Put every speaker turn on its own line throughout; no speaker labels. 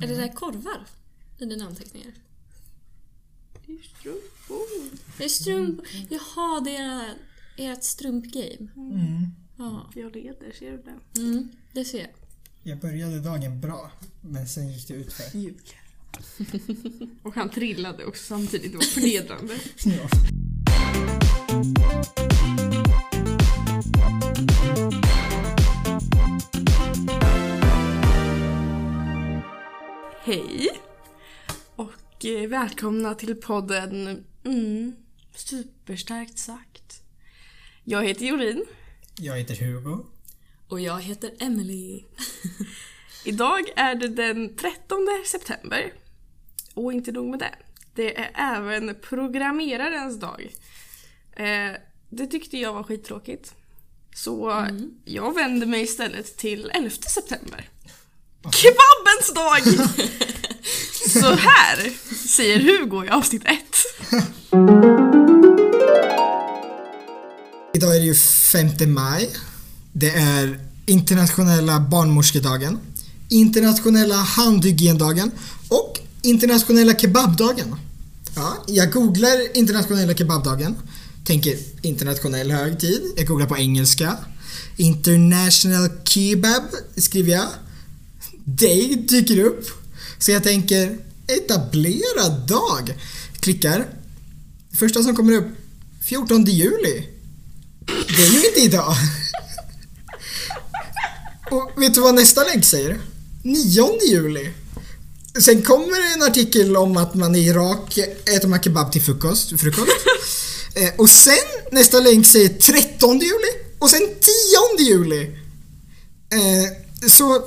Är det där korvar i dina anteckningar?
Det är ju strumpor.
Det är strump... Jaha, det är era, ert strumpgame.
Mm.
Ja.
Jag leder, ser du det?
Mm, det ser jag.
Jag började dagen bra, men sen gick det utför.
Ljug. Och han trillade också samtidigt, det var förnedrande.
Ja.
Hej! Och eh, välkomna till podden mm, Superstarkt sagt. Jag heter Jorin.
Jag heter Hugo.
Och jag heter Emily.
Idag är det den 13 september. Och inte nog med det. Det är även programmerarens dag. Eh, det tyckte jag var skittråkigt. Så jag vänder mig istället till 11 september. Kebabens dag! Så här säger Hugo i avsnitt 1.
Idag är det ju 5 maj. Det är internationella barnmorskedagen, internationella handhygiendagen och internationella kebabdagen. Ja, jag googlar internationella kebabdagen, tänker internationell högtid. Jag googlar på engelska. International kebab skriver jag. Day dyker upp. Så jag tänker etablerad dag. Klickar. Första som kommer upp 14 juli. Det är ju inte idag. Och vet du vad nästa länk säger? 9 juli. Sen kommer det en artikel om att man i Irak äter man kebab till frukost. frukost. Eh, Och sen nästa länk säger 13 juli och sen 10 juli. Eh, Så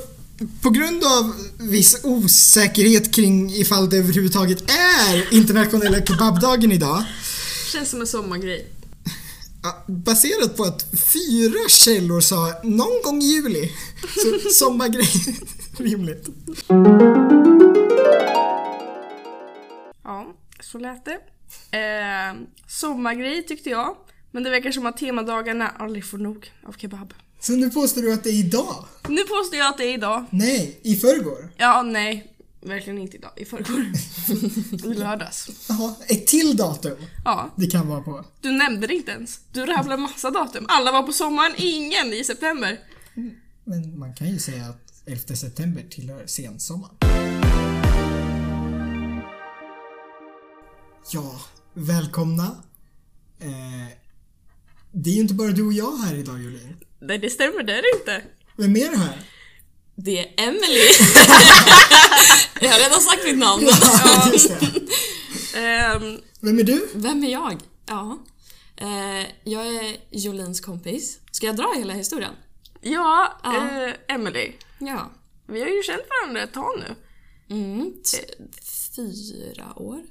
på grund av viss osäkerhet kring ifall det överhuvudtaget är internationella kebabdagen idag
Känns som en sommargrej.
Ja, Baserat på att fyra källor sa någon gång i juli. Så sommargrej. Rimligt.
Ja, så lät det. Eh, sommargrej tyckte jag. Men det verkar som att temadagarna aldrig får nog av kebab.
Så nu påstår du att det är idag?
Nu påstår jag att det är idag.
Nej, i förrgår.
Ja, nej. Verkligen inte idag. I förrgår. I lördags.
Jaha, ett till datum
Ja,
det kan vara på.
du nämnde det inte ens. Du rabblade massa datum. Alla var på sommaren, ingen i september.
Men man kan ju säga att 11 september tillhör sensommaren. Ja, välkomna. Eh, det är ju inte bara du och jag här idag Julin.
Nej, det stämmer. Det är det inte.
Vem är det här?
Det är Emily! jag har redan sagt mitt namn.
Ja, just det.
Ehm,
Vem är du?
Vem är jag? Ja. Eh, jag är Jolins kompis. Ska jag dra hela historien?
ja,
Ja.
eh, Emily.
Ja.
Vi har ju känt varandra ett tag nu.
Mm. t- Fyra år?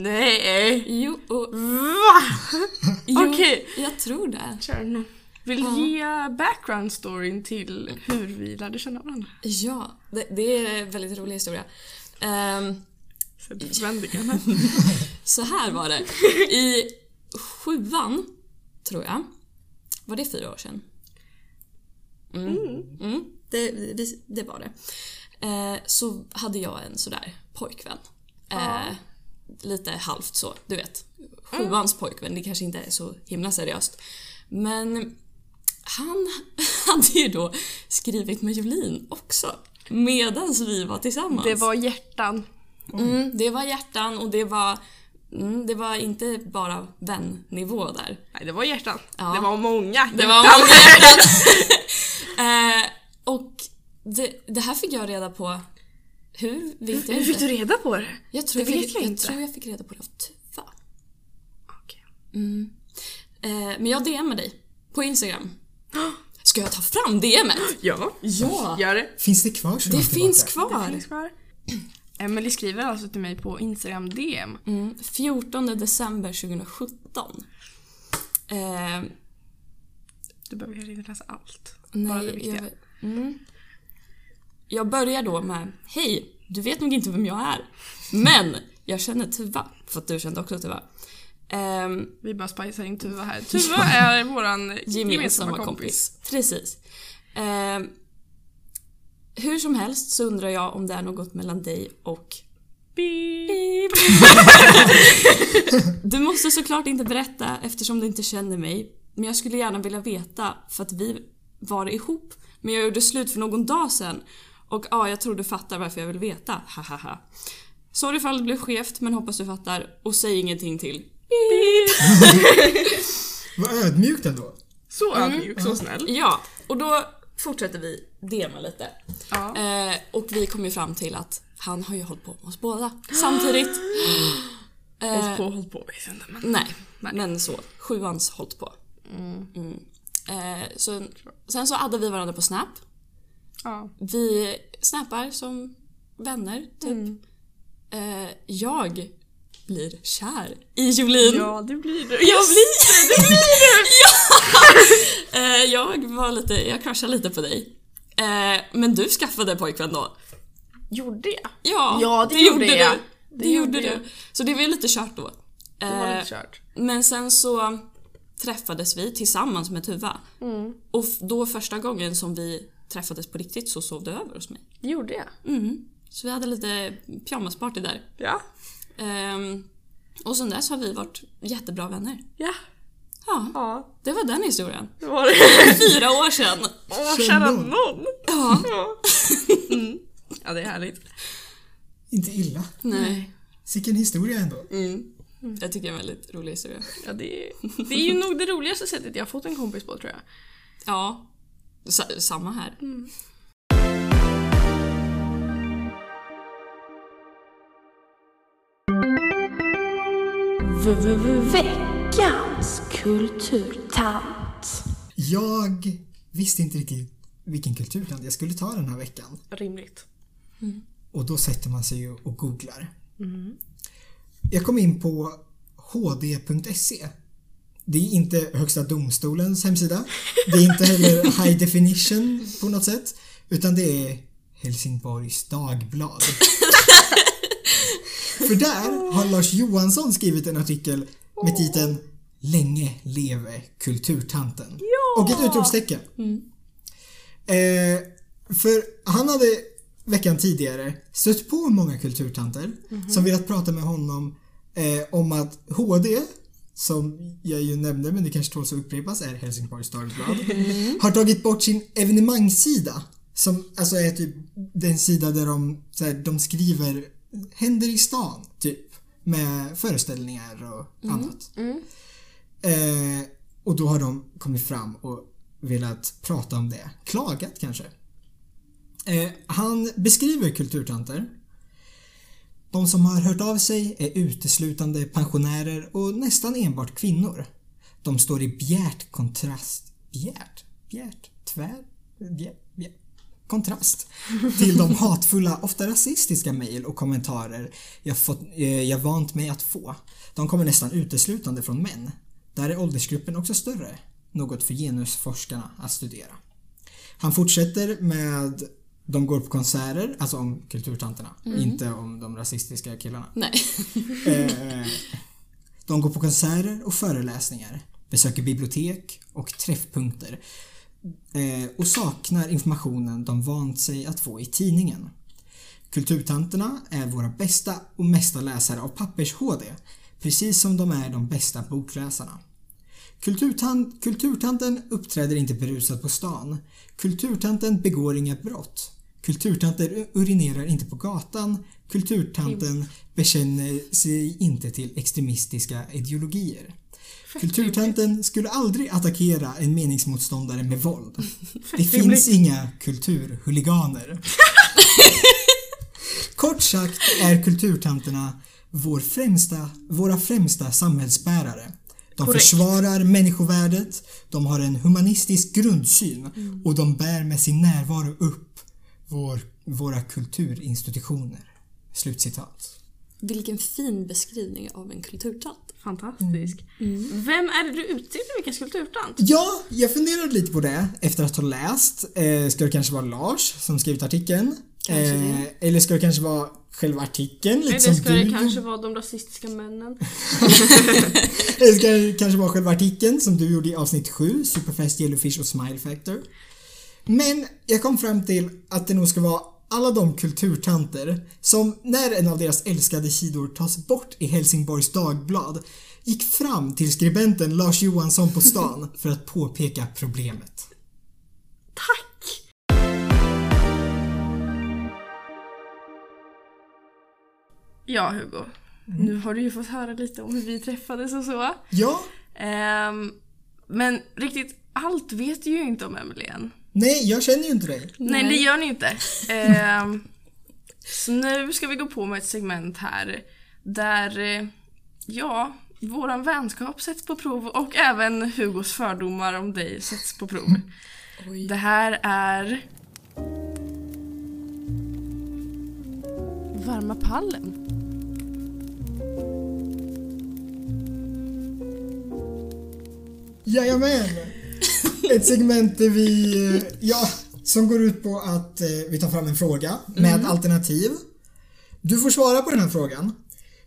Nej.
Jo, och,
Va?
jo
Okej.
jag tror det.
Kör nu. Vill du ge background storyn till hur vi lärde känna varandra?
Ja, det, det är en väldigt rolig historia. Ehm,
Sett förväntningarna.
så här var det. I sjuan, tror jag. Var det fyra år sedan? Mm. Mm. Det, det, det var det. Eh, så hade jag en sådär pojkvän. Eh, lite halvt så, du vet. Sjuans
Mm.
pojkvän, det kanske inte är så himla seriöst. Men han hade ju då skrivit med Jolin också. Medans vi var tillsammans.
Det var hjärtan.
Mm, det var hjärtan och det var, mm, det var inte bara vännivå där.
Nej, det var hjärtan.
Ja.
Det var många
Det
hjärtan.
var många hjärtan. eh, och det, det här fick jag reda på... Hur? Vet jag
Hur fick
inte.
du reda på det?
Jag tror
det
jag,
vet
fick,
jag
jag,
inte.
tror jag fick reda på det av Tuva.
Okej.
Eh, men jag DMar dig på Instagram. Ska jag ta fram DMet?
Ja,
Ja!
gör det.
Finns det kvar så
Det
långt
finns
tillbaka?
Det
kvar!
finns kvar. Emily skriver alltså till mig på Instagram DM.
Mm, 14 december 2017. Eh,
Du behöver kanske inte läsa allt. Bara det
Nej,
viktiga.
jag, mm. jag börjar då med Hej, du vet nog inte vem jag är. Men jag känner Tuva, för att du kände också Tuva. Ehm,
Vi bara spicar in Tuva här. Tuva är våran gemensamma,
gemensamma
kompis.
kompis. Precis. Ehm, Hur som helst så undrar jag om det är något mellan dig och
Beep.
Du måste såklart inte berätta eftersom du inte känner mig. Men jag skulle gärna vilja veta för att vi var ihop. Men jag gjorde slut för någon dag sedan. Och ja, jag tror du fattar varför jag vill veta. Hahaha. Sorry ifall det blev skevt men hoppas du fattar. Och säg ingenting till.
Vad ödmjukt ändå.
Så
Mm.
ödmjuk, så snäll.
Ja, och då fortsätter vi dema lite.
Ja.
Eh, och vi kom ju fram till att han har ju hållit på med oss båda samtidigt. Eh.
Håll på, håll på. vet inte, men-
Nej, men så. Sjuans hållt på. Mm. Eh, så, sen så addar vi varandra på Snap.
Ja.
Vi snappar som vänner, typ.
Mm.
Eh, jag blir kär i Jolin.
ja, det blir det.
Jag blir det! ja! Eh, jag var lite, jag crushade lite på dig. Eh, men du skaffade pojkvän då.
Gjorde jag?
Ja,
Ja, det gjorde jag.
du. Det, gjorde du. Så det var ju lite kört då.
Det var
Eh,
lite kört.
Men sen så träffades vi tillsammans med Tuva.
Mm.
Och f- då första gången som vi träffades på riktigt så sov du över hos mig.
Det gjorde jag.
Mm. Så vi hade lite pyjamasparty där.
Ja.
Ehm, och sen dess har vi varit jättebra vänner.
Ja.
Ja,
Ja,
det var den historien.
det var det.
Fyra år sedan!
Åh,
Känn
kära
någon.
någon. Ja. Ja. Mm. ja, det är härligt.
Inte illa.
Nej.
Sicken historia ändå.
Mm. Jag tycker det är en väldigt rolig historia.
Ja, det, är, det är ju nog det roligaste sättet jag har fått en kompis på tror jag.
Ja, sa- samma här.
V- v- v- Veckans kulturtant.
Jag visste inte riktigt vilken kulturland jag skulle ta den här veckan.
Rimligt.
Och då sätter man sig ju och googlar. Jag kom in på hd.se. E. Det är inte Högsta domstolens hemsida. Det är inte heller High Definition på något sätt. Utan det är Helsingborgs Dagblad. För där har Lars Johansson skrivit en artikel med titeln Länge leve kulturtanten. Och ett utropstecken. Eh, för han hade veckan tidigare stött på många kulturtanter som velat prata med honom eh, om att HD, som jag ju nämnde men det kanske tåls att upprepas, är Helsingborgs Dagblad, har tagit bort sin evenemangssida. Som alltså är typ den sida där de, så här, de skriver händer i stan, typ. Med föreställningar och annat. Eh, och då har de kommit fram och velat prata om det. Klagat kanske. Eh, han beskriver kulturtanter. De som har hört av sig är uteslutande pensionärer och nästan enbart kvinnor. De står i bjärt kontrast... Bjärt? Bjärt? Tvär? Bjärt? bjärt kontrast till de hatfulla, ofta rasistiska mejl och kommentarer jag, fått, eh, jag vant mig att få. De kommer nästan uteslutande från män. Där är åldersgruppen också större, något för genusforskarna att studera. Han fortsätter med de går på konserter, alltså om kulturtanterna, inte om de rasistiska killarna.
Nej.
Eh, De går på konserter och föreläsningar, besöker bibliotek och träffpunkter eh, och saknar informationen de vant sig att få i tidningen. Kulturtanterna är våra bästa och mesta läsare av pappers-HD, precis som de är de bästa bokläsarna. Kulturtan- kulturtanten uppträder inte berusad på stan. Kulturtanten begår inga brott. Kulturtanten u- urinerar inte på gatan. Kulturtanten bekänner sig inte till extremistiska ideologier. Kulturtanten skulle aldrig attackera en meningsmotståndare med våld. Det finns inga kulturhuliganer. Kort sagt är kulturtanterna vår främsta, våra främsta samhällsbärare. De försvarar människovärdet, de har en humanistisk grundsyn
Mm.
och de bär med sin närvaro upp vår, våra kulturinstitutioner. Slutcitat.
Vilken fin beskrivning av en kulturtant.
Fantastisk. Vem är det du utser till veckans kulturtant?
Ja, jag funderade lite på det efter att ha läst. Eh, ska det kanske vara Lars som skrivit artikeln? Eh, eller ska det kanske vara själva artikeln? liksom Lite
Eller
som
ska det
du
kanske vara de rasistiska männen?
Eller ska det kanske vara själva artikeln som du gjorde i avsnitt 7, Superfest, Yellowfish och Smile Factor? Men jag kom fram till att det nog ska vara alla de kulturtanter som när en av deras älskade sidor tas bort i Helsingborgs Dagblad gick fram till skribenten Lars Johansson på stan för att påpeka problemet.
Tack! Ja, Hugo. Nu har du ju fått höra lite om hur vi träffades och så.
Ja,
Ehm, men riktigt allt vet du ju inte om Emelie än.
nej, jag känner ju inte dig.
Nej, det gör ni inte. Ehm, så nu ska vi gå på med ett segment här där, eh, ja, våran vänskap sätts på prov och även Hugos fördomar om dig sätts på prov.
Oj.
Det här är... Varma pallen.
Jajamän! Ett segment där vi, eh, ja, som går ut på att eh, vi tar fram en fråga med ett alternativ. Du får svara på den här frågan.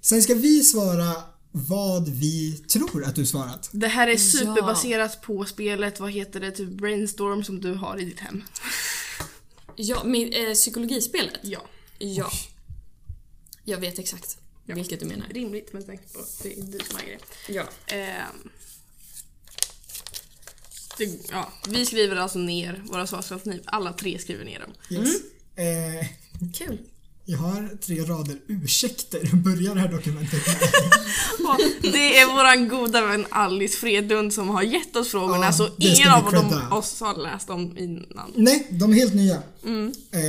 Sen ska vi svara vad vi tror att du svarat.
Det här är superbaserat på spelet, vad heter det, typ brainstorm som du har i ditt hem.
Ja, med eh, psykologispelet?
Ja.
Ja. Jag vet exakt vilket du menar.
Rimligt med tanke på att det är du som äger det.
Ja.
Ehm. Det, ja, vi skriver alltså ner våra svarsalternativ. Alla tre skriver ner dem.
Yes. Eh,
Kul.
jag har tre rader ursäkter och börjar det här dokumentet med.
Och det är våran goda vän Alice Fredlund som har gett oss frågorna
Ja,
så
det ska
ingen
vi
av dem,
credda.
oss har läst dem innan.
Nej, de är helt nya. Eh,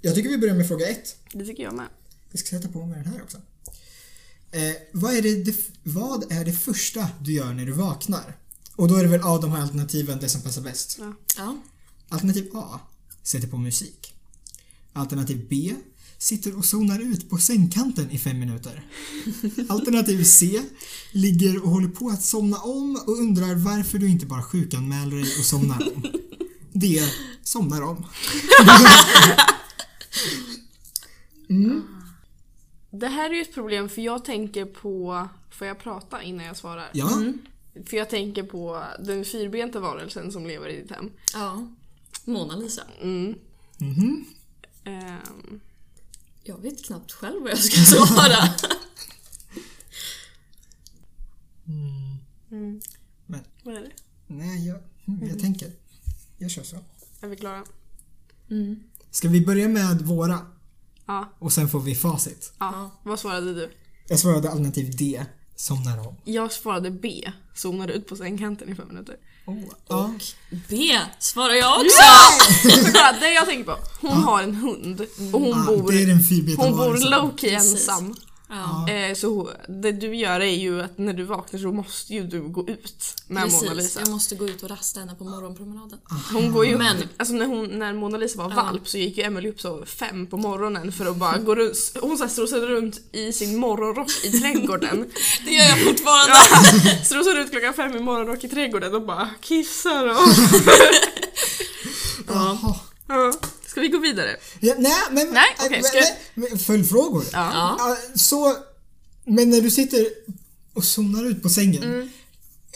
jag tycker vi börjar med fråga ett.
Det tycker jag med.
Jag ska sätta på mig den här också. Eh, vad, är det, det- vad är det första du gör när du vaknar? Och då är det väl av de här alternativen det som passar bäst.
Ja.
Alternativ A. Sätter på musik. Alternativ B. Sitter och zonar ut på sängkanten i fem minuter. Alternativ C. Ligger och håller på att somna om och undrar varför du inte bara sjukanmäler dig och somnar om. D. Somnar om.
Det här är ju ett problem för jag tänker på... Får jag prata innan jag svarar?
Ja.
För jag tänker på den fyrbenta varelsen som lever i ditt hem.
ja. Mona Lisa.
Mhm.
Ehm,
Jag vet knappt själv vad jag ska svara.
Men,
vad är det?
nej, jag, jag tänker. Jag kör så.
Är vi klara?
Ska vi börja med våra
Ja.
och sen får vi facit?
ja. Vad svarade du?
Jag svarade alternativ D. Somnar om.
Jag svarade B. Zonade ut på sängkanten i fem minuter.
Ja.
B svarar jag också!
Kolla, det jag tänker på. Hon har en hund och hon
Ah,
bor,
det är den fyrbenta
hon bor
varelsen.
low-key
Precis.
ensam. Eh, så hon- det du gör är ju att när du vaknar så måste ju du gå ut med Mona
Precis,
Lisa.
jag måste gå ut och rasta henne på morgonpromenaden.
Hon går ju
Men-
alltså när, hon, när Mona Lisa var valp så gick ju Emily upp så fem på morgonen för att bara gå runt. Hon så här strosade runt i sin morgonrock i trädgården.
Det gör jag fortfarande!
Ja, strosade ut klockan fem i morgonrock i trädgården och bara kissar och...
Jaha.
Ja. Ska vi gå vidare?
Ja, nej, men...
Nej, okej,
äh,
ska-
nej, men Följdfrågor.
Ja.
Ah, Så, men när du sitter och zonar ut på sängen.
Mm.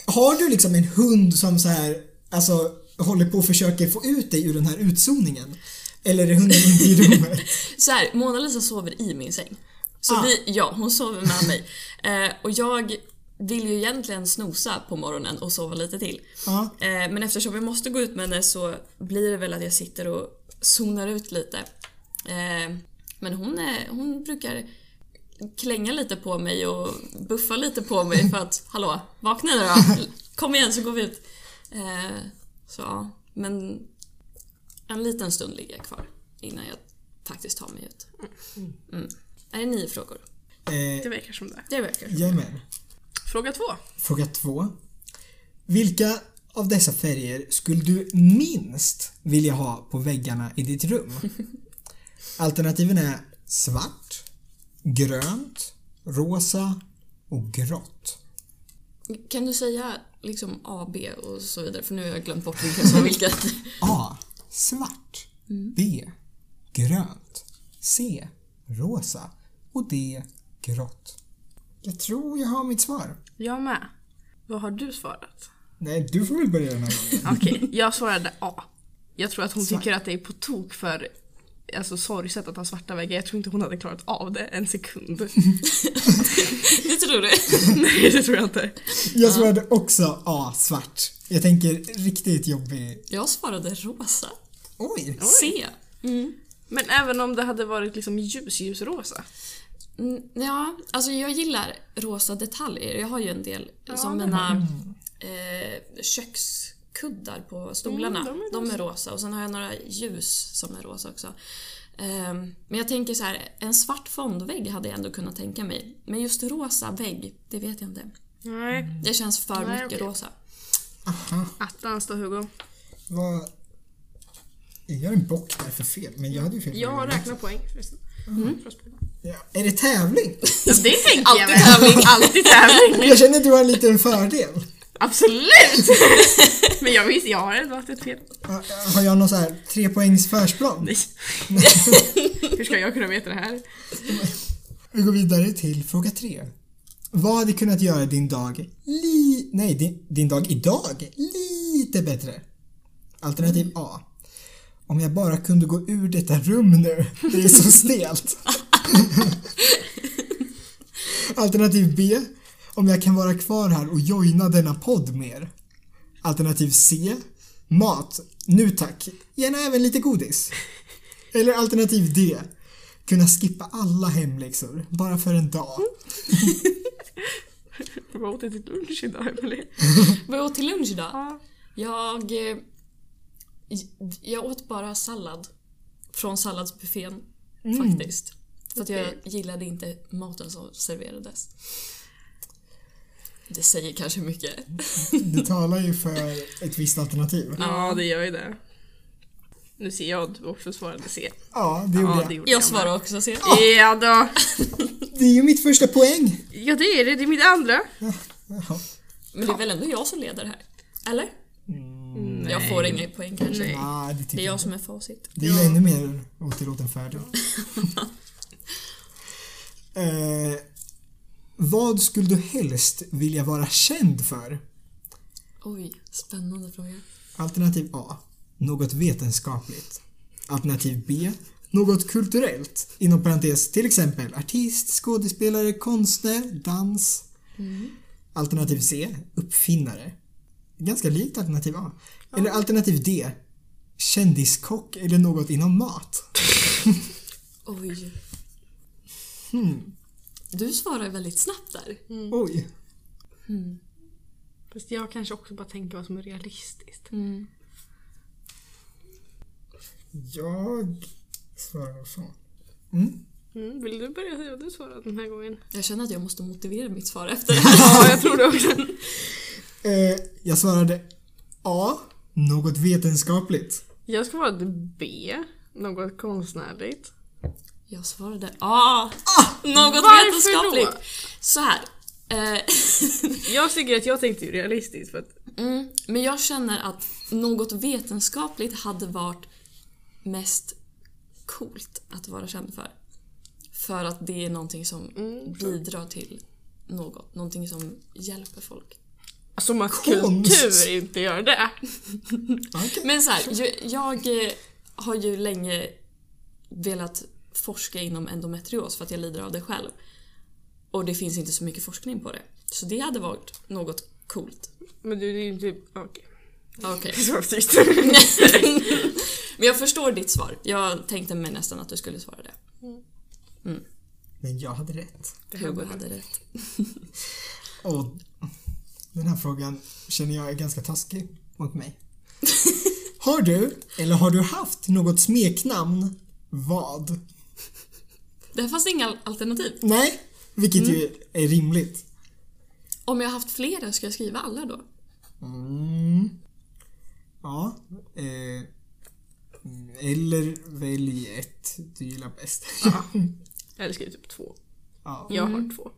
Har du liksom en hund som så här, alltså håller på och försöker få ut dig ur den här utzoningen? Eller är hunden inte i rummet?
Så här, Mona Lisa sover i min säng. Så
Ah.
vi, ja, hon sover med mig. Eh, och jag vill ju egentligen snosa på morgonen och sova lite till.
Ja.
Eh, men eftersom jag måste gå ut med henne så blir det väl att jag sitter och zonar ut lite. Eh, men hon, är, hon brukar klänga lite på mig och buffa lite på mig för att hallå, vakna nu då. Kom igen så går vi ut. Eh, så ja, men en liten stund ligger jag kvar innan jag faktiskt tar mig ut. Mm. Är det nio frågor?
Det
Eh,
verkar som det.
Det verkar det.
jajamän.
Fråga två.
Fråga två. Vilka av dessa färger skulle du minst vilja ha på väggarna i ditt rum? Alternativen är svart, grönt, rosa och grått.
Kan du säga liksom A, B och så vidare? För nu har jag glömt bort vilka som var vilka.
A. Svart. B. Grönt. C. Rosa. Och D. Grått. Jag tror jag har mitt svar.
Jag med. Vad har du svarat?
Nej, du får väl börja den här gången.
Okej, jag svarade A. Jag tror att hon
Svart.
tycker att det är på tok för alltså, sorgset att ha svarta väggar. Jag tror inte hon hade klarat av det en sekund.
Det tror du?
Nej, det tror jag inte.
Jag svarade också A, svart. Jag tänker riktigt jobbig.
Jag svarade rosa. E.
Oj!
C.
Men även om det hade varit liksom ljus, ljusrosa.
Mm, ja, alltså jag gillar rosa detaljer. Jag har ju en del som mina eh, kökskuddar på stolarna.
Mm,
de,
de
är
är
rosa och sen har jag några ljus som är rosa också. Ehm, men jag tänker så här, en svart fondvägg hade jag ändå kunnat tänka mig. Men just rosa vägg, det vet jag inte.
Nej.
Det känns för
Nej,
mycket
okej.
rosa.
Attans då Hugo.
Vad... Jag gör en bock där för fel, men jag hade ju fel.
Jag räknar poäng förresten.
Ja. Är det tävling?
Mm. Ja, det tänker jag
Alltid
väl. Tävling. Alltid tävling.
Jag känner att du har en liten fördel.
Absolut! Men jag visste, jag har ändå haft ett fel.
Ja, Har jag någon så här tre poängs försprång?
Nej. Hur ska jag kunna veta det här?
Vi går vidare till fråga tre. Vad hade kunnat göra din dag li... Nej, din, din dag idag lite bättre? Alternativ A. Om jag bara kunde gå ur detta rum nu. Det är så stelt. Alternativ B. Om jag kan vara kvar här och joina denna podd mer. Alternativ C. Mat. Nu tack. Gärna även lite godis. Eller alternativ D. Kunna skippa alla hemläxor, bara för en dag.
Vad åt jag till lunch idag Emelie?
Vad jag åt till lunch idag?
Ja.
Jag, eh, j- jag åt bara sallad från salladsbuffén
Mm.
faktiskt. För att jag gillade inte maten som serverades. Det säger kanske mycket.
Mm.
Du talar ju för ett visst alternativ.
Ja, det gör ju det. Nu ser jag att du också svarade C.
Ja, det gjorde
Ja, det
jag.
gjorde
Jag
med.
svarar också ser jag.
Ja då.
Det är ju mitt första poäng.
Ja det är det, det är mitt andra.
Jaha.
Men det är väl ändå jag som leder här? Eller? Jag får inga poäng kanske.
Mm. Nej.
Nej, ah, det
Det
tycker
är
jag.
jag som är facit.
Det är ju ännu mer otillåten fördel. eh, vad skulle du helst vilja vara känd för?
Oj, spännande fråga.
Alternativ A. Något vetenskapligt. Alternativ B. Något kulturellt. Inom parentes till exempel artist, skådespelare, konstnär, dans. Alternativ C. Uppfinnare. Ganska likt alternativ A. Eller alternativ D. Kändiskock eller något inom mat.
Oj.
Hmm.
Du svarar väldigt snabbt där.
Oj.
Fast jag kanske också bara tänker vad som är realistiskt.
Jag svarar så.
Mm, vill du börja säga vad du svarade den här gången?
Jag känner att jag måste motivera mitt svar efter det
Ja, jag tror det också.
Eh, jag svarade A. Något vetenskapligt.
Jag ska vara B, något konstnärligt.
Jag svarade ah, Något
Varför
vetenskapligt. Så här. Eh,
Jag tycker att jag tänkte ju realistiskt för att
mm, men jag känner att något vetenskapligt hade varit mest coolt att vara känd för. För att det är någonting som bidrar till något. Någonting som hjälper folk.
som att
Konst.
kultur inte gör det.
Okej.
Men så här, ju- jag eh, har ju länge velat forska inom endometrios för att jag lider av det själv. Och det finns inte så mycket forskning på det. Så det hade varit något coolt.
Men du, det är ju typ... Okej. typ-
Okej.
Svårtyst.
Men jag förstår ditt svar. Jag tänkte mig nästan att du skulle svara det.
Men jag hade rätt.
Hugo hade rätt.
Och den här frågan känner jag är ganska taskig mot mig. Har du, eller har du haft, något smeknamn? Vad?
Där fanns inga alternativ.
Nej, vilket
Mm.
ju är rimligt.
Om jag har haft flera, ska jag skriva alla då?
Mm. Ja. Eh, eller välj ett du gillar bäst.
Jag älskar ju typ två.
Ja.
Jag har två.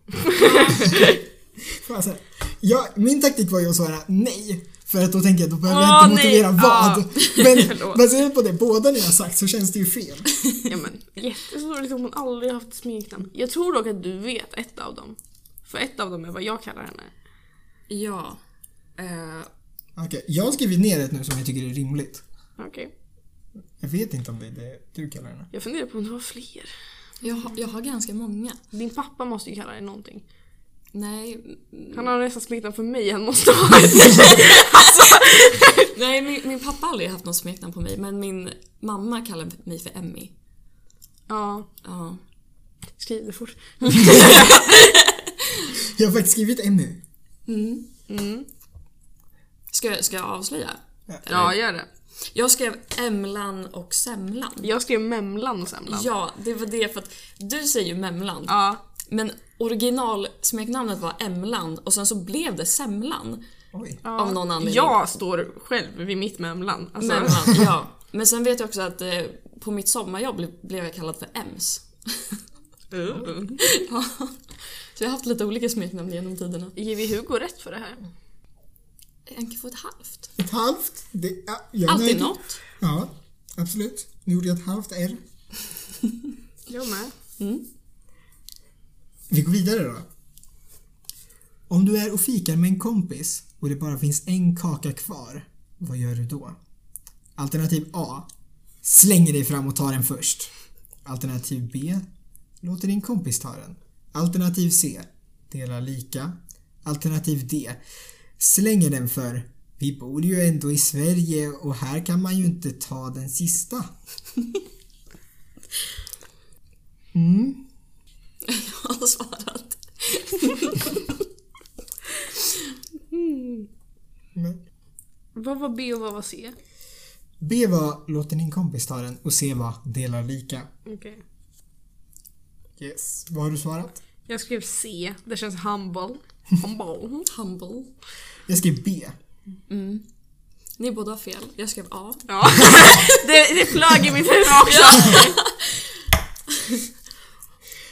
Får jag säga? Jag, min taktik var ju att svara nej. För att då tänker jag då behöver
Åh,
jag inte motivera
nej.
vad.
Ah.
Men
Förlåt.
baserat på det båda ni har sagt så känns det ju fel.
Ja, men, jättesvårt om liksom, hon aldrig har haft smeknamn. Jag tror dock att du vet ett av dem. För ett av dem är vad jag kallar henne.
Ja. Eh,
Eh.
Okej, jag har skrivit ner ett nu som jag tycker är rimligt.
Okej.
Jag vet inte om det är det du kallar henne.
Jag funderar på om det var fler.
Jag, har- jag har ganska många.
Din pappa måste ju kalla dig någonting.
Nej,
Han har nästan smeknamn för mig, han måste ha ett.
nej min, min pappa har aldrig haft något smeknamn på mig men min mamma kallar mig för Emmy.
Ja,
Ja.
skriv det fort.
Jag har faktiskt skrivit Emmy.
Ska, jag- ska jag avslöja?
Ja, gör det.
Jag skrev Emlan och Semlan.
Jag skrev Memlan och Semlan.
Ja, det var det för att du säger ju Memlan.
Ja.
Men originalsmeknamnet var Emland och sen så blev det Semlan.
Oj.
Av någon anledning.
Jag står själv vid mitt Memlan. Alltså,
Memlan, ja. Men sen vet jag också att eh, på mitt sommarjobb ble- blev jag kallad för Ems.
Uh.
Ja. Så jag har haft lite olika smeknamn genom tiderna.
Ger vi Hugo rätt för det här?
Jag kan få ett halvt.
Ett halvt. Det, ja, jag är
Alltid
nöjd.
något.
Ja, absolut. Nu gjorde jag ett halvt R.
Jag med.
Vi går vidare då. Om du är och fikar med en kompis och det bara finns en kaka kvar, vad gör du då? Alternativ A. Slänger dig fram och tar den först. Alternativ B. Låter din kompis ta den. Alternativ C. Dela lika. Alternativ D. Slänger den för vi bor ju ändå i Sverige och här kan man ju inte ta den sista.
Jag har svarat.
Men
Vad var B och vad var C?
B var låter din kompis ta den och C var dela lika.
Okej.
Yes. Vad har du svarat?
Jag skrev C. Det känns humble. Humble.
Humble.
Jag skrev B.
Ni båda har fel. Jag skrev A.
ja. det, det flög i mitt huvud också.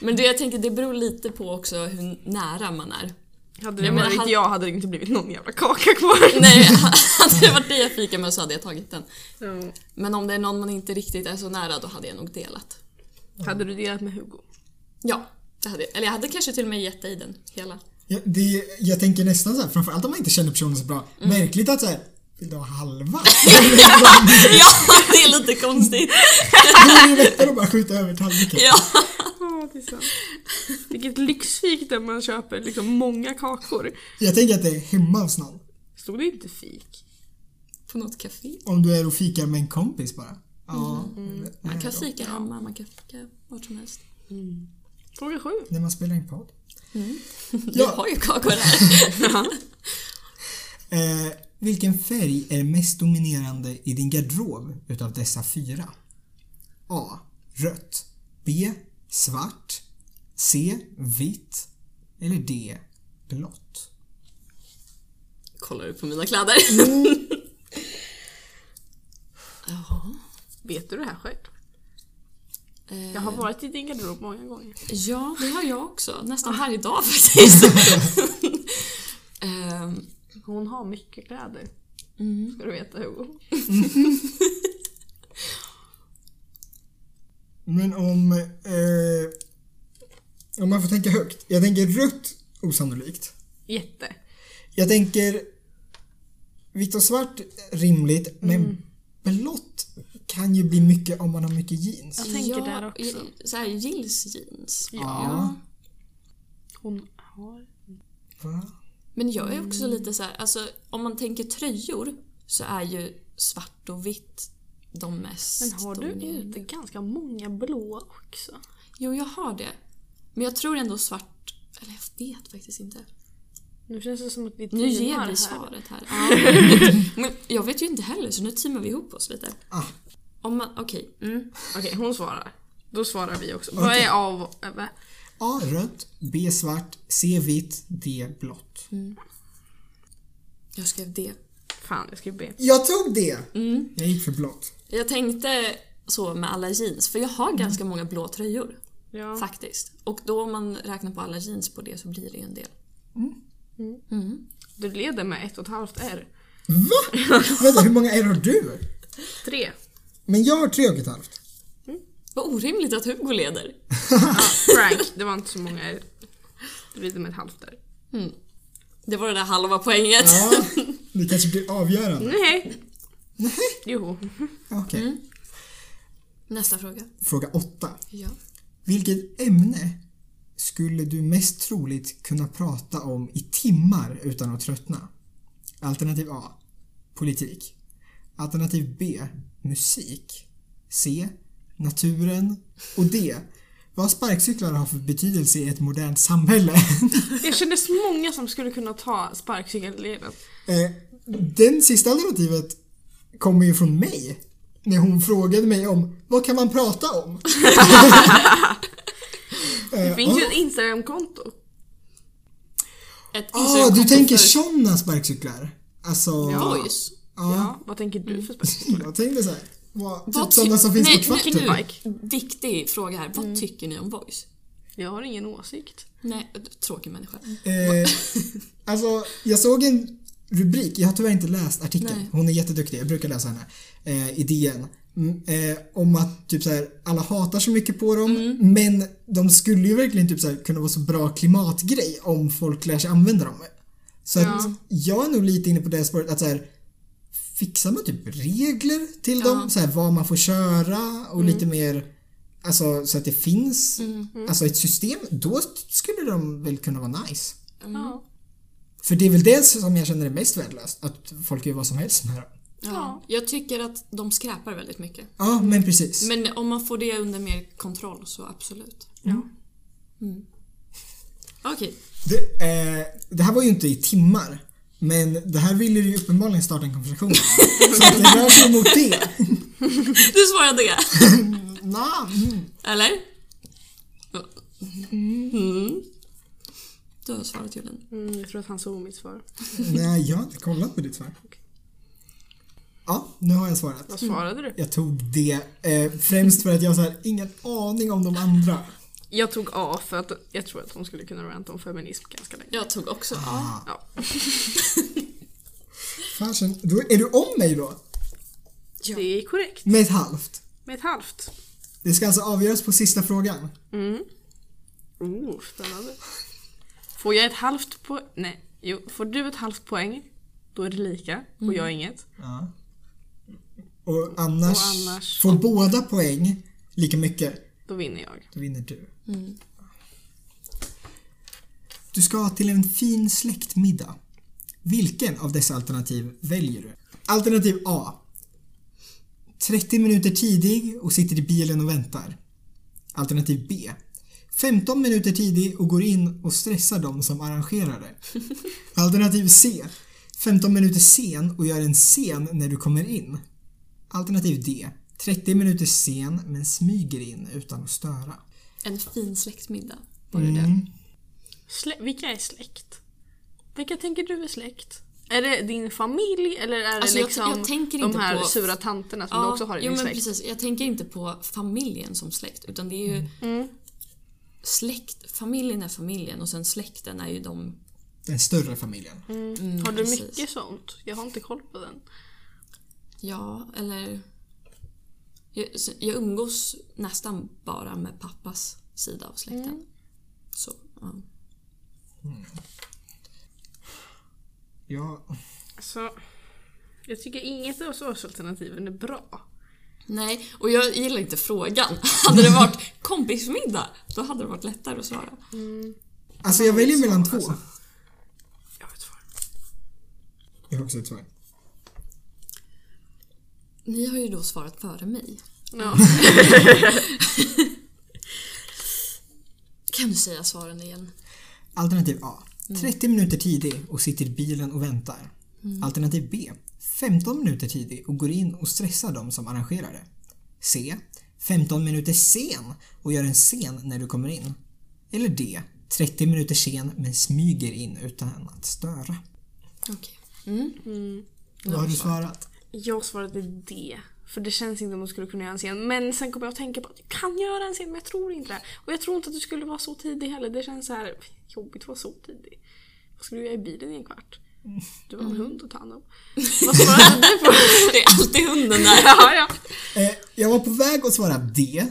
Men det jag tänker, det beror lite på också hur nära man är.
Hade det
Jag menar,
varit
han-
jag hade det inte blivit någon jävla kaka kvar.
Nej, hade det varit dig jag fikade med så hade jag tagit den.
Så.
Men om det är någon man inte riktigt är så nära då hade jag nog delat.
Hade du delat med Hugo?
Ja, det hade jag. Eller jag hade kanske till och med gett dig den hela.
Ja, det, jag tänker nästan så här, framförallt om man inte känner personen så bra.
Mm.
Märkligt att så här, vill du ha halva?
Ja, det är lite konstigt.
Då är det lättare att bara skjuta över tallriken.
Ja.
Ja, det är sant. Vilket lyxfik där man köper liksom många kakor.
Jag tänker att det är hemma hos någon.
Stod det inte fik?
På något café.
Om du är och fikar med en kompis bara. Ja. Mm.
Man Mm. kan fika hemma, man kan fika vart som helst.
Fråga sju.
När man spelar in podd.
Du
Ja,
har ju kakor här.
eh, vilken färg är mest dominerande i din garderob utav dessa fyra? A. Rött. B. Svart. C. Vitt. Eller D. Blått.
Kollar du på mina kläder? Jaha.
Vet du det här själv? Jag har varit i din garderob många gånger.
Ja, det har jag också. Nästan varje dag faktiskt. Ehm,
Hon har mycket kläder. Ska du veta Hugo.
Men om... Eh, om man får tänka högt. Jag tänker rött osannolikt.
Jätte.
Jag tänker vitt och svart rimligt men blått kan ju bli mycket om man har mycket jeans.
Jag tänker
ja,
där också.
i- Så här, gills jeans.
Ja.
Hon har...
Va?
Men jag är också lite så här, alltså om man tänker tröjor så är ju svart och vitt de mest
Men har du
dominerande.
inte ganska många blåa också?
Jo, jag har det. Men jag tror ändå svart... Eller jag vet faktiskt inte.
Nu känns det som att vi
Nu
timmar
ger
här.
vi svaret här. Ja. Men jag vet ju inte heller så nu teamar vi ihop oss lite.
Ah.
Om man, okej.
Mm. Okej, hon svarar. Då svarar vi också. Vad
Okej.
är A och vad- äh, va?
A rött, B svart, C vitt, D blått.
Jag skrev det.
Fan, jag skrev B.
Jag tog det! Jag gick för blått.
Jag tänkte så med alla jeans, för jag
Mm.
har ganska många blå tröjor.
Ja.
Faktiskt. Och då om man räknar på alla jeans på det så blir det ju en del.
Du leder med ett och ett halvt R.
Va? Vänta, hur många R har du?
Tre.
Men jag har tre och ett halvt.
Vad orimligt att Hugo leder.
Frank, det var inte så många R. Du leder med ett halvt R.
Det var det där halva poänget.
Ja, det kanske blir avgörande.
Nej. Joho.
Okej.
Nästa fråga.
Fråga 8.
Ja.
Vilket ämne skulle du mest troligt kunna prata om i timmar utan att tröttna? Alternativ A. Politik. Alternativ B. Musik. C. Naturen. Och D. Vad sparkcyklar har för betydelse i ett modernt samhälle?
Jag känner så många som skulle kunna ta sparkcykelleden.
Eh, Den sista alternativet kommer ju från mig. När hon frågade mig om vad kan man prata om?
Det finns ju ett Instagramkonto.
Ett
Ah,
Instagramkonto
du tänker
för
sådana sparkcyklar? Alltså...
Toys.
Ja, vad tänker du för sparkcyklar?
Jag tänkte såhär. Vad,
Vad
typ sådana
ty-
som finns
nej,
på Mm.
nej,
kvarten.
Bike.
nu, Viktig fråga här. Vad tycker ni om Voice?
Jag har ingen åsikt.
Nej, tråkig människa.
Eh, alltså, jag såg en rubrik, jag har tyvärr inte läst artikeln.
Nej.
Hon är jätteduktig, jag brukar läsa henne. Eh, I DN. Mm, eh, om att typ såhär, alla hatar så mycket på dem
Mm.
men de skulle ju verkligen typ såhär, kunna vara så bra klimatgrej om folk lär sig använda dem. Så att jag är nog lite inne på det spåret att såhär, fixar man typ regler till dem? Så här, vad man får köra och lite mer Alltså så att det finns Alltså ett system, då skulle de väl kunna vara nice.
Ja.
För det är väl det som jag känner är mest värdelöst, att folk gör vad som helst med dem.
Ja. Jag tycker att de skräpar väldigt mycket.
Ja, men precis.
Men om man får det under mer kontroll så absolut. Okej.
Det, eh, det här var ju inte i timmar, men det här ville du ju uppenbarligen starta en konversation om. Så att det rör sig mot det.
Du svarade det!
Nah, mm.
Eller? Mm. Du har svarat Julen.
Mm, jag tror att han såg mitt svar.
Nej, jag har inte kollat på ditt svar. Ja, nu har jag svarat.
Vad svarade du?
Jag tog det eh, främst för att jag har ingen aning om de andra.
Jag tog A för att jag tror att hon skulle kunna ranta om feminism ganska länge.
Jag tog också A.
Ja.
Fasen, då är du om mig då?
Det är korrekt.
Med ett halvt.
Med ett halvt.
Det ska alltså avgöras på sista frågan.
Oh, spännande. Får jag ett halvt poäng? Nej. Jo, får du ett halvt poäng, då är det lika.
Mm.
Och jag inget.
Och annars,
Och annars-
får båda poäng lika mycket,
Då vinner jag.
då vinner du. Du ska till en fin släktmiddag. Vilken av dessa alternativ väljer du? Alternativ A. 30 minuter tidig och sitter i bilen och väntar. Alternativ B. 15 minuter tidig och går in och stressar dem som arrangerar det. Alternativ C. 15 minuter sen och gör en scen när du kommer in. Alternativ D. 30 minuter sen men smyger in utan att störa.
En fin släktmiddag. Var det det?
Slä- Vilka är släkt? Vilka tänker du är släkt? Är det din familj eller är det
Alltså, jag-
liksom
jag tänker
de
inte
här
på-
sura tanterna som du också har i
jo,
din
men
släkt?
precis. Jag tänker inte på familjen som släkt utan det är ju släkt. Familjen är familjen och sen släkten är ju de...
Den större familjen.
har du
precis.
mycket sånt? Jag har inte koll på den.
Ja, eller... Jag, jag umgås nästan bara med pappas sida av släkten. Så, ja.
Ja,
Alltså, jag tycker inget av svarsalternativen är bra.
Nej, och jag gillar inte frågan. Hade det varit kompismiddag, då hade det varit lättare att svara.
alltså jag väljer mellan två.
Jag har ett svar.
Jag har också ett svar.
Ni har ju då svarat före mig.
Ja.
Mm. Kan du säga svaren igen?
Alternativ A. 30 minuter tidig och sitter i bilen och väntar. Alternativ B. 15 minuter tidig och går in och stressar de som arrangerar det. C. 15 minuter sen och gör en scen när du kommer in. Eller D. 30 minuter sen men smyger in utan att störa.
Okej.
Vad har du svarat?
Jag svarade D. För det känns inte som att du skulle kunna göra en scen. Men sen kom jag att tänka på att jag kan göra en scen men jag tror inte det. Och jag tror inte att du skulle vara så tidig heller. Det känns så här jobbigt att vara så tidig. Vad skulle du göra i bilen i en kvart? Du har en hund att ta hand om. Vad svarade du på?
Det är alltid hunden där.
ja, ja.
Eh, jag var på väg att svara D.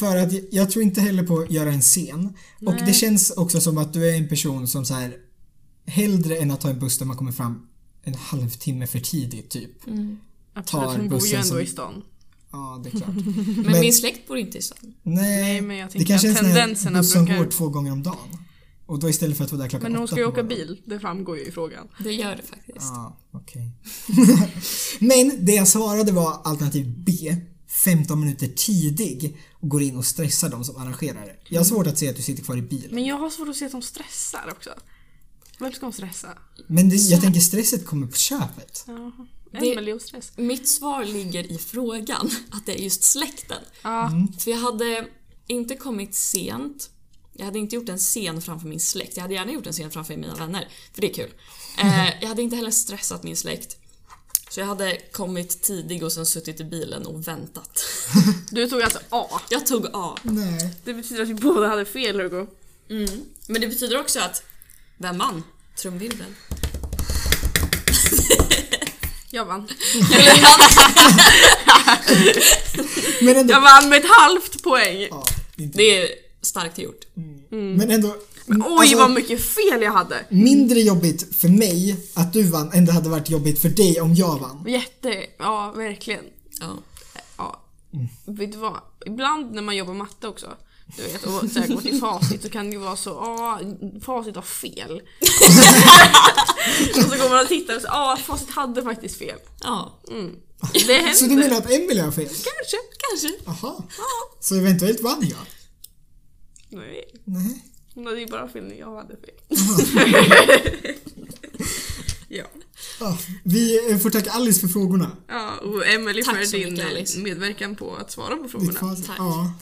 För att jag, jag tror inte heller på att göra en scen. Och det känns också som att du är en person som så här hellre än att ta en buss där man kommer fram en halvtimme för tidigt typ.
Mm. Absolut, hon bor ju
bussen
ändå
som-
i stan.
Ja, det är klart.
Men, min släkt bor inte i stan.
nej,
Nej, men jag
det
tänker
kanske är
att
en sån här
tendenserna
buss som
brukar-
går två gånger om dagen. Och då istället för att vara där klockan
Men hon
åtta
ska ju
på
åka
morgonen.
bil, det framgår ju i frågan.
Det gör det faktiskt.
Ja, okej. Men det jag svarade var alternativ B. 15 minuter tidig och går in och stressar de som arrangerar det. Jag har svårt att se att du sitter kvar i bilen.
Men jag har svårt att se att de stressar också. Vem ska hon stressa?
Men det, jag tänker stresset kommer på köpet.
Jaha.
Det-
Emelie och stress.
Mitt svar ligger i frågan, att det är just släkten.
Ja,
För jag hade inte kommit sent. Jag hade inte gjort en scen framför min släkt. Jag hade gärna gjort en scen framför mina vänner, för det är kul. Eh, jag hade inte heller stressat min släkt. Så jag hade kommit tidig och sen suttit i bilen och väntat.
Du tog alltså A.
Jag tog A.
Nej.
Det betyder att vi båda hade fel Hugo.
Men det betyder också att... Vem vann? Trumvirveln.
Jag vann.
Men ändå,
Jag vann med ett halvt poäng.
ja, det är inte,
Det är starkt gjort.
men ändå
Mm. Oj
alltså,
vad mycket fel jag hade.
mindre jobbigt för mig att du vann än det hade varit jobbigt för dig om jag vann.
Jätte, ja verkligen.
Ja.
Ja. Vet du vad? Ibland när man jobbar matte också, du vet, och så här går till facit så kan det ju vara så, ja, facit har fel. och så går man och tittar och så, ja, facit hade faktiskt fel.
Ja,
Det händer.
Så du menar att Emelie har fel?
Kanske.
kanske.
Jaha. Så eventuellt vann jag?
Nej,
Nej.
hon hade ju bara fel när jag hade fel. ja.
Ja, vi eh, får tacka Alice för frågorna.
ja, och Emily
Tack
för
så
din
mycket, Alice.
medverkan på att svara på
Ditt
frågorna.
facit.
Tack.
Ja.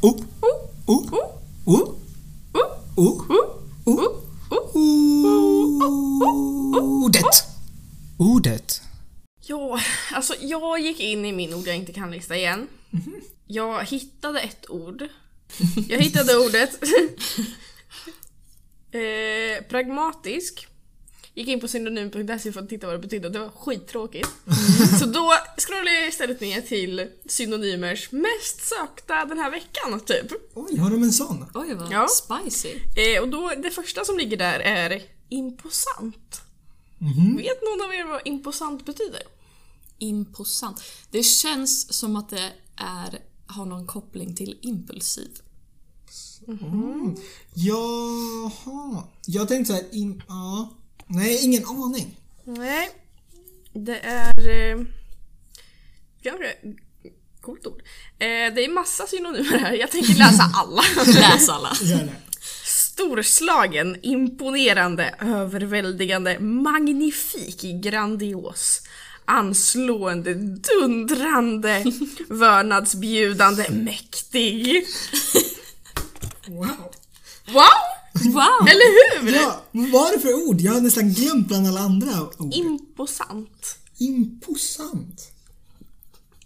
Oh,
Oh,
oh,
oh,
oh,
oh,
oh,
oh, oh, oh.
ordet. Ordet.
Ja, alltså jag gick in i min ord jag inte kan-lista igen. Jag hittade ett ord. Jag hittade ordet. eh, pragmatisk. Gick in på synonym.se för att titta vad det betydde. Det var skittråkigt. Så då scrollade jag istället ner till synonymers mest sökta den här veckan, typ.
Oj, har de en sån?
Oj, vad
Ja.
spicy.
Eh, och då, det första som ligger där är imposant. Vet någon av er vad imposant betyder?
Imposant. Det känns som att det är, har någon koppling till impulsiv.
Jaha. Jag tänkte såhär, in, ja. Nej, ingen aning.
Nej. Det är... Eh, kanske coolt ord. Eh, det är massa synonymer här. Jag tänker läsa alla.
Läs alla.
Gör det.
Storslagen, imponerande, överväldigande, magnifik, grandios. Anslående, dundrande, vördnadsbjudande, mäktig.
Wow.
Wow!
Wow!
Eller hur?
Ja, vad var det för ord? Jag har nästan glömt bland alla andra ord.
Imposant.
Imposant.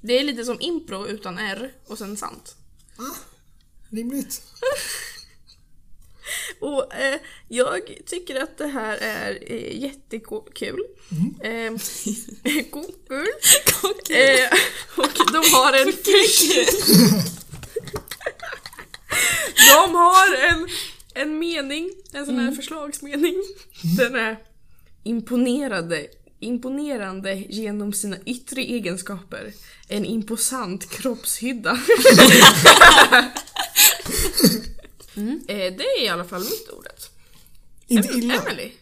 Det är lite som impro utan R och sen sant.
Ah, rimligt.
Och eh, jag tycker att det här är eh, jättekul. Eh, Kokul. Eh, och de har en fisk. De har en, en mening, en sån här förslagsmening. Den är imponerade, imponerande genom sina yttre egenskaper. En imposant kroppshydda. Eh, det är i alla fall mitt ordet.
Inte illa.
Emily,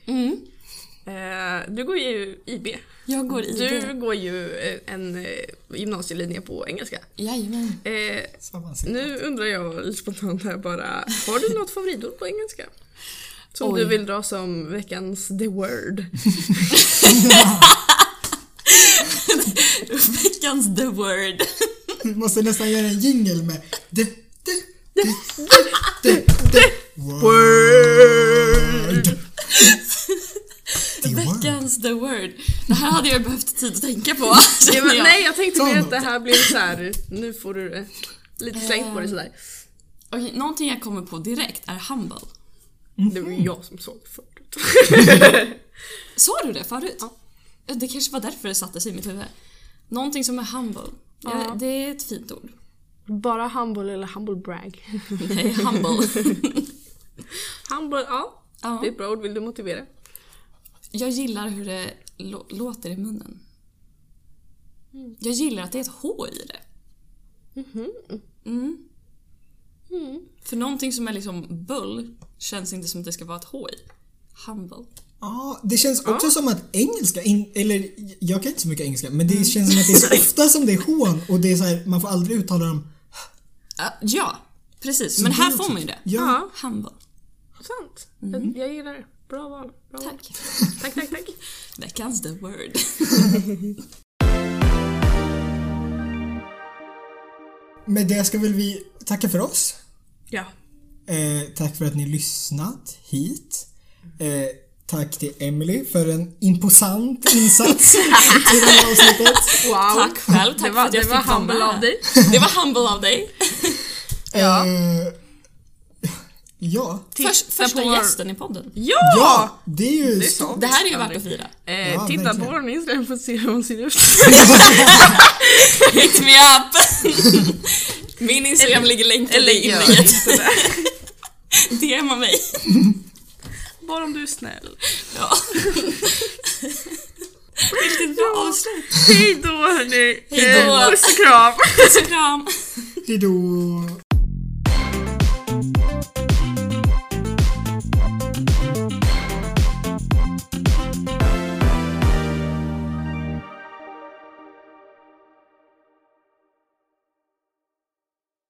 eh, du går ju IB.
Jag går i
Du
det.
går ju eh, en eh, gymnasielinje på engelska.
Jajamän.
Eh,
Samma sak.
nu undrar jag lite spontant här bara, har du något favoritord på engelska? Som
Oj.
du vill dra som veckans the word?
Veckans the word.
Vi måste nästan göra en jingle med de, de, de, de, de, de. Word. The word.
Veckans the word. Det här hade jag behövt tid att tänka på.
Ja,
känner
men,
jag.
nej jag tänkte
Ta
mer att
något.
det här blir så här. nu får du eh, lite slängt på dig sådär.
Okej, någonting jag kommer på direkt är humble.
Det var ju jag som såg förut.
Sa du det förut? Ja. Det kanske var därför det satte sig i mitt huvud. Någonting som är humble. Ja.
Ja.
det är ett fint ord.
Bara humble eller humble brag.
Nej, humble.
Humble, ja.
Ja.
Det är ett bra ord, vill du motivera?
Jag gillar hur det lå- låter i munnen. Jag gillar att det är ett H i det. Mm. För någonting som är liksom bull känns inte som att det ska vara ett H i. Humble.
Ja, det känns också som att engelska, in, eller jag kan inte så mycket engelska, men
Mm.
det känns som att det är så ofta som det är hån och det är så här, man får aldrig uttala dem.
Ja, Ah, Ja, precis. Men
det är
här
också-
får man ju det. typ-
Ja.
Ja,
Humble.
sant. Jag, jag gillar det. Bra val. Bra val.
Tack.
Tack, tack, tack.
Veckans the word.
Med det ska väl vi tacka för oss.
Ja.
Eh, tack för att ni lyssnat hit. Eh, tack till Emily för en imposant insats i det här avsnittet.
Wow.
Tack själv, tack
det var,
för att jag
det var
fick vara
humble
med.
av dig.
Det var humble av dig.
Ja.
Eh, ja.
Först,
Titta
första
på vår-
gästen i podden.
Ja!
Ja, det är ju
Det är
så.
sant.
Det här är ju värt att fira.
Eh,
Ja,
titta
verkligen.
på vår Instagram för att se hur hon ser ut.
Hit me up! Min Instagram ligger länkad i inlägget. DMa mig.
Bara om du är snäll.
Ja. Vilket bra avslut.
Hej då hörni!
Hej då.
Eh, Puss och kram!
Puss och kram.
Hejdå.